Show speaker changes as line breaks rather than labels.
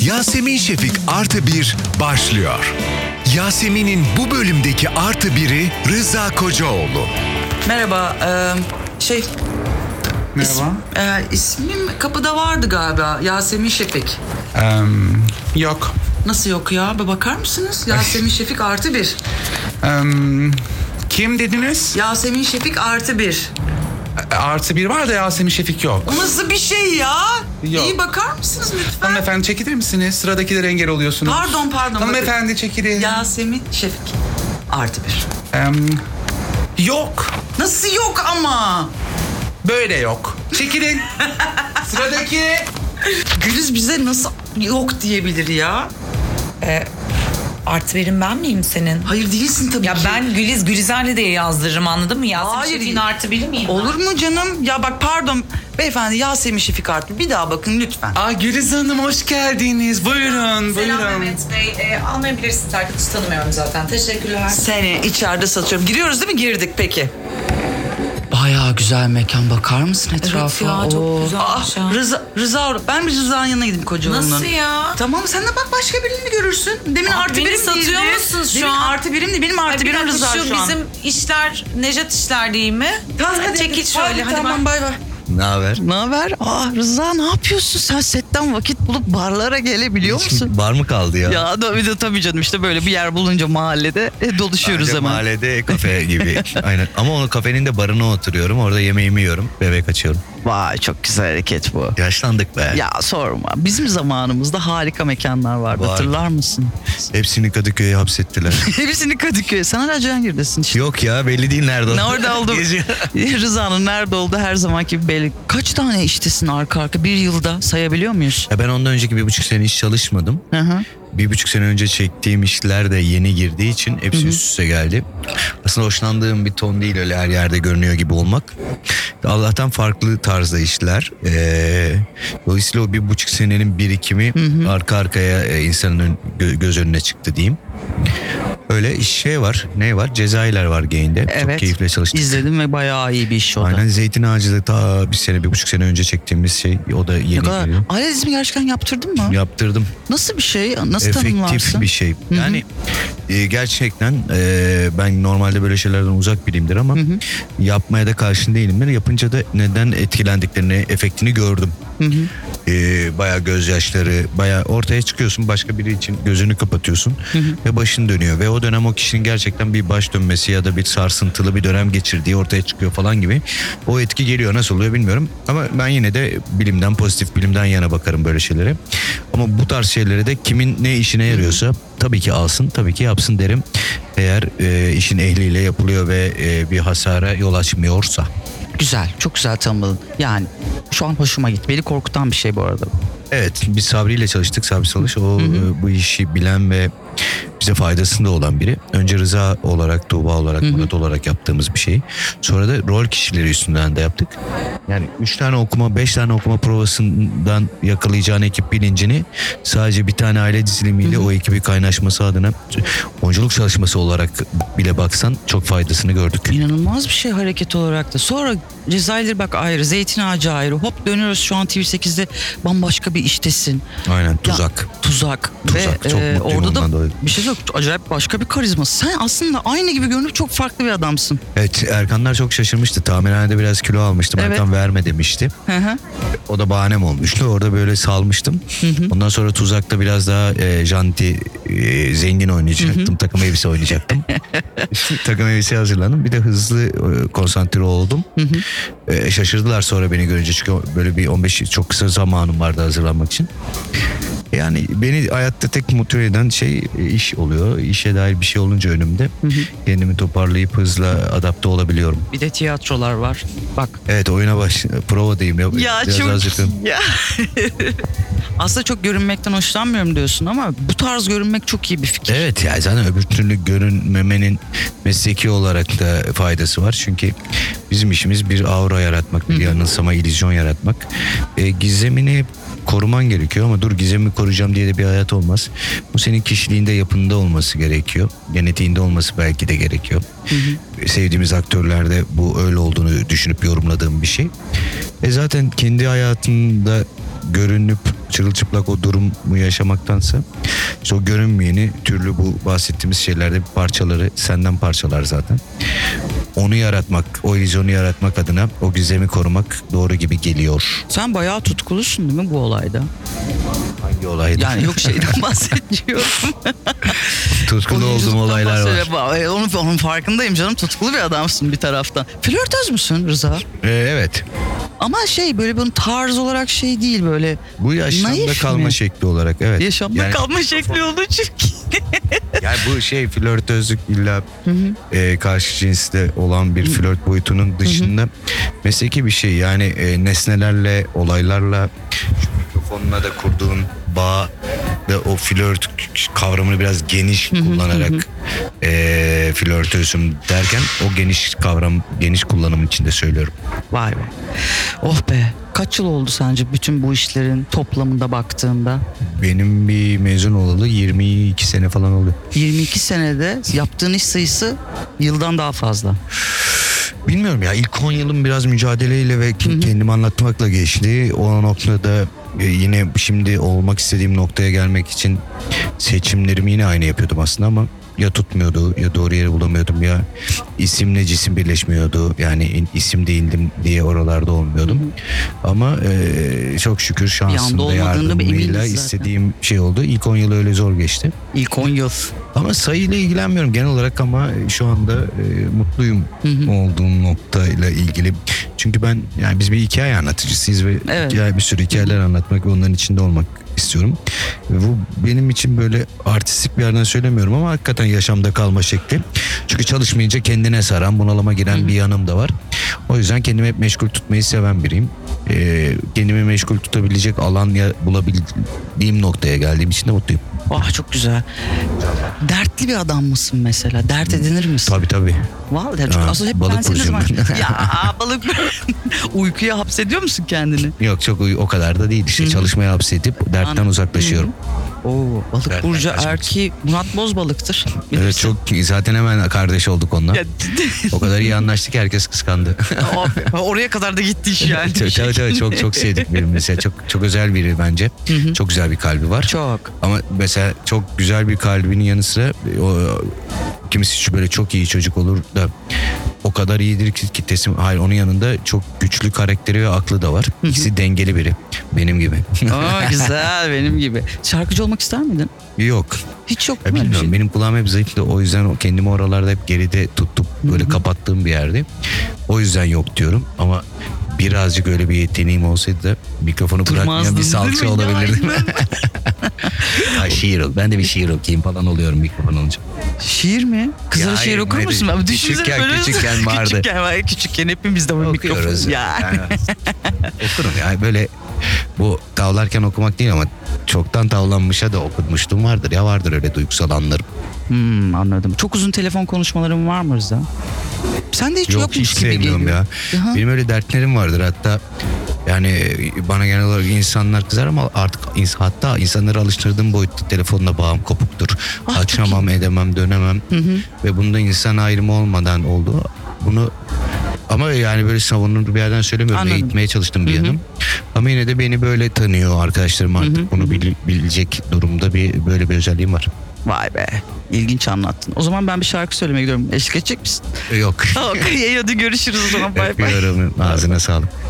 Yasemin Şefik Artı Bir başlıyor. Yasemin'in bu bölümdeki artı biri Rıza Kocaoğlu.
Merhaba. e, şey
Merhaba.
e, ismim kapıda vardı galiba. Yasemin Şefik.
Em, yok.
Nasıl yok ya? Bir bakar mısınız? Yasemin Şefik artı bir.
Em, kim dediniz?
Yasemin Şefik artı bir.
Artı bir var da Yasemin Şefik yok.
Bu nasıl bir şey ya?
Yok.
İyi bakar mısınız lütfen?
Hanımefendi çekilir misiniz? Sıradakilere engel oluyorsunuz.
Pardon pardon.
Hanımefendi çekilin.
Yasemin Şefik artı bir.
Em, yok.
Nasıl yok ama?
Böyle yok. Çekilin. Sıradaki.
Gülüz bize nasıl yok diyebilir ya?
Artı birim ben miyim senin?
Hayır değilsin tabii
Ya
ki.
ben Güliz Gülizarlı diye yazdırırım anladın mı? Yasemin
Hayır.
Şefin artı biri miyim?
Olur mu canım? Ya bak pardon. Beyefendi Yasemin Şefik artı bir daha bakın lütfen.
Aa Güliz Hanım hoş geldiniz. Buyurun,
Selam
buyurun.
Mehmet Bey. Ee, anlayabilirsiniz arkadaşı tanımıyorum zaten. Teşekkürler.
Seni içeride satıyorum. Giriyoruz değil mi? Girdik peki. Bayağı güzel mekan. Bakar mısın etrafa?
ya, çok güzelmiş
Aa,
ya.
Rıza, Rıza, ben bir Rıza'nın yanına gideyim kocaoğlunun.
Nasıl ya?
Tamam sen de bak başka birini görürsün. Demin artı
beni
birim
satıyor
değildi.
musunuz şu
Demin
an?
artı birim de benim artı
Bir
birim
dakika
Rıza
şu
şu, an.
bizim işler Nejat işler değil mi?
Tamam,
Çek git şöyle hadi
tamam,
ben-
bay bay.
Ne haber?
Ne haber? Aa Rıza ne yapıyorsun? Sen setten vakit bulup barlara gelebiliyor musun?
Var mı kaldı ya?
ya da bir de tabii canım işte böyle bir yer bulunca mahallede e, doluşuyoruz
Ancak
hemen.
Mahallede kafe gibi. Aynen. Ama onun kafenin de barına oturuyorum. Orada yemeğimi yiyorum. Bebek açıyorum.
Vay çok güzel hareket bu.
Yaşlandık be.
Ya sorma. Bizim zamanımızda harika mekanlar vardı.
Var.
Hatırlar mısın?
Hepsini Kadıköy'e hapsettiler.
Hepsini Kadıköy. Sen hala Cihangir'desin işte.
Yok ya belli değil nerede
Ne orada oldu?
Geziyor.
Rıza'nın nerede oldu her zamanki belli. Kaç tane iştesin arka arka bir yılda sayabiliyor muyuz?
Ya ben ondan önceki bir buçuk sene hiç çalışmadım.
Hı hı.
Bir buçuk sene önce çektiğim işler de yeni girdiği için hepsi üst üste geldi. Aslında hoşlandığım bir ton değil öyle her yerde görünüyor gibi olmak. Allah'tan farklı tarzda işler. Ee, dolayısıyla o bir buçuk senenin birikimi arka arkaya e, insanın ön- gö- göz önüne çıktı diyeyim. Öyle iş- şey var. Ne var? Cezayirler var Gain'de. Çok
Evet.
keyifle çalıştık.
İzledim ve bayağı iyi bir iş o da.
Aynen Zeytin Ağacı da ta bir sene bir buçuk sene önce çektiğimiz şey. O da yeni
Ne kadar?
geliyor.
Ailezmi gerçekten yaptırdın mı?
Yaptırdım
Nasıl bir şey? Nasıl
efektif
tanımlarsın?
bir şey. Yani e, gerçekten e, ben normalde böyle şeylerden uzak biriyimdir ama yapmaya da karşın değilimdir. Yapınca da neden etkilendiklerini, efektini gördüm. E, bayağı gözyaşları, bayağı ortaya çıkıyorsun başka biri için gözünü kapatıyorsun ve başın dönüyor. Ve o dönem o kişinin gerçekten bir baş dönmesi ya da bir sarsıntılı bir dönem geçirdiği ortaya çıkıyor falan gibi. O etki geliyor nasıl oluyor bilmiyorum. Ama ben yine de bilimden pozitif bilimden yana bakarım böyle şeylere. Ama bu tarz şeylere de kimin ne işine yarıyorsa tabii ki alsın tabii ki yapsın derim. Eğer e, işin ehliyle yapılıyor ve e, bir hasara yol açmıyorsa.
Güzel, çok güzel tanımladın. Yani şu an hoşuma gitti. Beni korkutan bir şey bu arada.
Evet biz Sabri ile çalıştık Sabri Salış. O e, bu işi bilen ve bize faydasında olan biri. Önce Rıza olarak, Tuğba olarak, Murat olarak yaptığımız bir şey. Sonra da rol kişileri üstünden de yaptık. Yani üç tane okuma, beş tane okuma provasından yakalayacağın ekip bilincini sadece bir tane aile dizilimiyle o ekibi kaynaşması adına oyunculuk çalışması olarak bile baksan çok faydasını gördük.
İnanılmaz bir şey hareket olarak da. Sonra Cezayir bak ayrı, Zeytin Ağacı ayrı. Hop dönüyoruz şu an TV8'de bambaşka bir iştesin.
Aynen
Ya,
tuzak.
tuzak.
Tuzak,
Ve, e,
çok mutluyum
orada da
ondan dolayı.
bir şey yok. Acayip başka bir karizma. Sen aslında aynı gibi görünüp çok farklı bir adamsın.
Evet Erkanlar çok şaşırmıştı. Tamirhanede biraz kilo almıştım.
Evet.
Erkan verme demişti.
Hı hı.
O da bahanem olmuştu. Orada böyle salmıştım. Ondan sonra Tuzak'ta biraz daha e, janti, e, zengin oynayacaktım. Takım elbise oynayacaktım. Takım elbise hazırlandım. Bir de hızlı e, konsantre oldum. E, şaşırdılar sonra beni görünce. Çünkü böyle bir 15 çok kısa zamanım vardı hazırlanmak için. Yani beni hayatta tek motive eden şey e, iş oluyor. İşe dair bir şey olunca önümde kendimi toparlayıp hızla adapte olabiliyorum.
Bir de tiyatrolar var. Bak.
Evet oyuna baş provadayım. Ya,
Ya
Biraz
çok...
hazırım.
Ya. aslında çok görünmekten hoşlanmıyorum diyorsun ama bu tarz görünmek çok iyi bir fikir.
Evet ya zaten öbür türlü görünmemenin mesleki olarak da faydası var. Çünkü bizim işimiz bir aura yaratmak, bir yanılsama, illüzyon yaratmak. E, gizemini koruman gerekiyor ama dur gizemi koruyacağım diye de bir hayat olmaz. Bu senin kişiliğinde yapında olması gerekiyor. Genetiğinde olması belki de gerekiyor. E, Sevdiğimiz aktörlerde bu öyle olduğunu düşünüp yorumladığım bir şey. E zaten kendi hayatında görünüp çırılçıplak o durumu yaşamaktansa işte o görünmeyeni türlü bu bahsettiğimiz şeylerde parçaları senden parçalar zaten. Onu yaratmak, o illüzyonu yaratmak adına o gizemi korumak doğru gibi geliyor.
Sen bayağı tutkulusun değil mi bu olayda?
Hangi olaydı?
Yani yok şeyden bahsediyorum.
tutkulu
Oyunculuktan
olduğum olaylar var.
bahsediyorum. Ee, Onun, onun farkındayım canım. Tutkulu bir adamsın bir taraftan. Flörtöz müsün Rıza?
Ee, evet.
Ama şey böyle bunun tarz olarak şey değil böyle.
Bu yaşamda
Naif
kalma
mi?
şekli olarak evet.
Yaşamda
Yani-
kalma şekli olduğu çünkü.
Yani bu şey flörtözlük illa e, karşı cinste olan bir flört boyutunun dışında mesleki bir şey. Yani e, nesnelerle, olaylarla, şu mikrofonla da kurduğun bağ ve o flört kavramını biraz geniş kullanarak e, flörtözüm derken o geniş kavram, geniş kullanım içinde söylüyorum.
Vay be. Oh be. Kaç yıl oldu sence bütün bu işlerin toplamında baktığında?
Benim bir mezun olalı 22 sene falan oldu.
22 senede yaptığın iş sayısı yıldan daha fazla.
Bilmiyorum ya ilk 10 yılım biraz mücadeleyle ve ki- kendimi anlatmakla geçti. O noktada e, yine şimdi olmak istediğim noktaya gelmek için seçimlerimi yine aynı yapıyordum aslında ama ya tutmuyordu ya doğru yeri bulamıyordum ya isimle cisim birleşmiyordu yani in- isim değildim diye oralarda olmuyordum ama e, çok şükür şansım da
olmadığını da eminiz
yardımıyla
zaten.
istediğim şey oldu ilk 10 yıl öyle zor geçti
İlk 10 yıl.
ama sayıyla ilgilenmiyorum genel olarak ama şu anda e, mutluyum olduğum noktayla ilgili. Çünkü ben yani biz bir hikaye anlatıcısıyız ve
Evet.
hikaye- bir sürü hikayeler anlatmak ve onların içinde olmak istiyorum. Ve bu benim için böyle artistik bir yerden söylemiyorum ama hakikaten yaşamda kalma şekli. Çünkü çalışmayınca kendine saran, bunalıma giren bir yanım da var. O yüzden kendimi hep meşgul tutmayı seven biriyim. E, kendimi meşgul tutabilecek alan ya- bulabildiğim noktaya geldiğim için de mutluyum.
Ah çok güzel. Dertli bir adam mısın mesela? Dert edinir misin?
Tabii tabii.
Vallahi çünkü
Ha,
asıl hep
balık
ben seni
burcuyum
zaman-
ben.
ya balık Uykuya hapsediyor musun kendini?
Yok çok uy- o kadar da değil işte çalışmaya hapsedip dertten
Anladım.
uzaklaşıyorum.
Oo, balık
Ben-
burcu
ben kaçmak
erki Murat Bozbalık'tır.
Evet
Bilirsin.
çok zaten hemen kardeş olduk onunla.
Ya,
o kadar iyi anlaştık ki herkes kıskandı.
o- oraya kadar da gitti iş yani.
tabii, tabii, tabii, çok çok sevdik birbirimizi. Çok çok özel biri bence. Çok güzel bir kalbi var.
Çok.
Ama mesela çok güzel bir kalbinin yanı sıra o, kimisi şu böyle çok iyi çocuk olur da o kadar iyidir ki ki teslim. Hayır onun yanında çok güçlü karakteri ve aklı da var. İkisi dengeli biri. Benim gibi.
Aa, güzel benim gibi. Şarkıcı olmak ister miydin?
Yok.
Hiç yok
Ya
mu öyle bir
E, bilmiyorum
şey?
benim kulağım hep zayıftı o yüzden o kendimi oralarda hep geride tuttum. Böyle kapattığım bir yerde. O yüzden yok diyorum ama birazcık öyle bir yeteneğim olsaydı da mikrofonu bırakmayan bir salça
değil mi? Ya,
olabilirdim.
aynen.
Ay şiir ol. Ben de bir şiir okuyayım falan oluyorum mikrofon alınca.
şiir mi? Kızlara
Ya
şiir
hayır,
okur
hayır.
musun? Ama düşünsene
Küçükken-
böyle-
küçükken vardı.
küçükken, var, küçükken hepimizde var
Okuyoruz.
mikrofon. Ya.
Yani okurum ya böyle bu tavlarken okumak değil ama çoktan tavlanmışa da okutmuştum vardır ya vardır öyle duygusal anlarım.
Hmm, anladım. Çok uzun telefon konuşmaların var mı Rıza? Sen de hiç
Yok
yokmuş
hiç
gibi
sevmiyorum
geliyor.
ya.
Aha.
Benim öyle dertlerim vardır hatta yani bana genel olarak insanlar kızar ama artık ins- hatta insanları alıştırdığım boyutta telefonla bağım kopuktur.
Ah,
Açamam, edemem, dönemem. Ve bunda insan ayrımı olmadan oldu. Bunu ama yani böyle savunur bir yerden söylemiyorum.
Anladım.
Eğitmeye çalıştım bir yanım. Ama yine de beni böyle tanıyor arkadaşlarım artık. Bunu bil- bilecek durumda bir böyle bir özelliğim var.
Vay be. İlginç anlattın. O zaman ben bir şarkı söylemeye gidiyorum. Eşlik edecek misin?
Yok.
Tamam. iyi, Hadi görüşürüz o zaman. Bay bay.
Öpüyorum. Ağzına sağlık.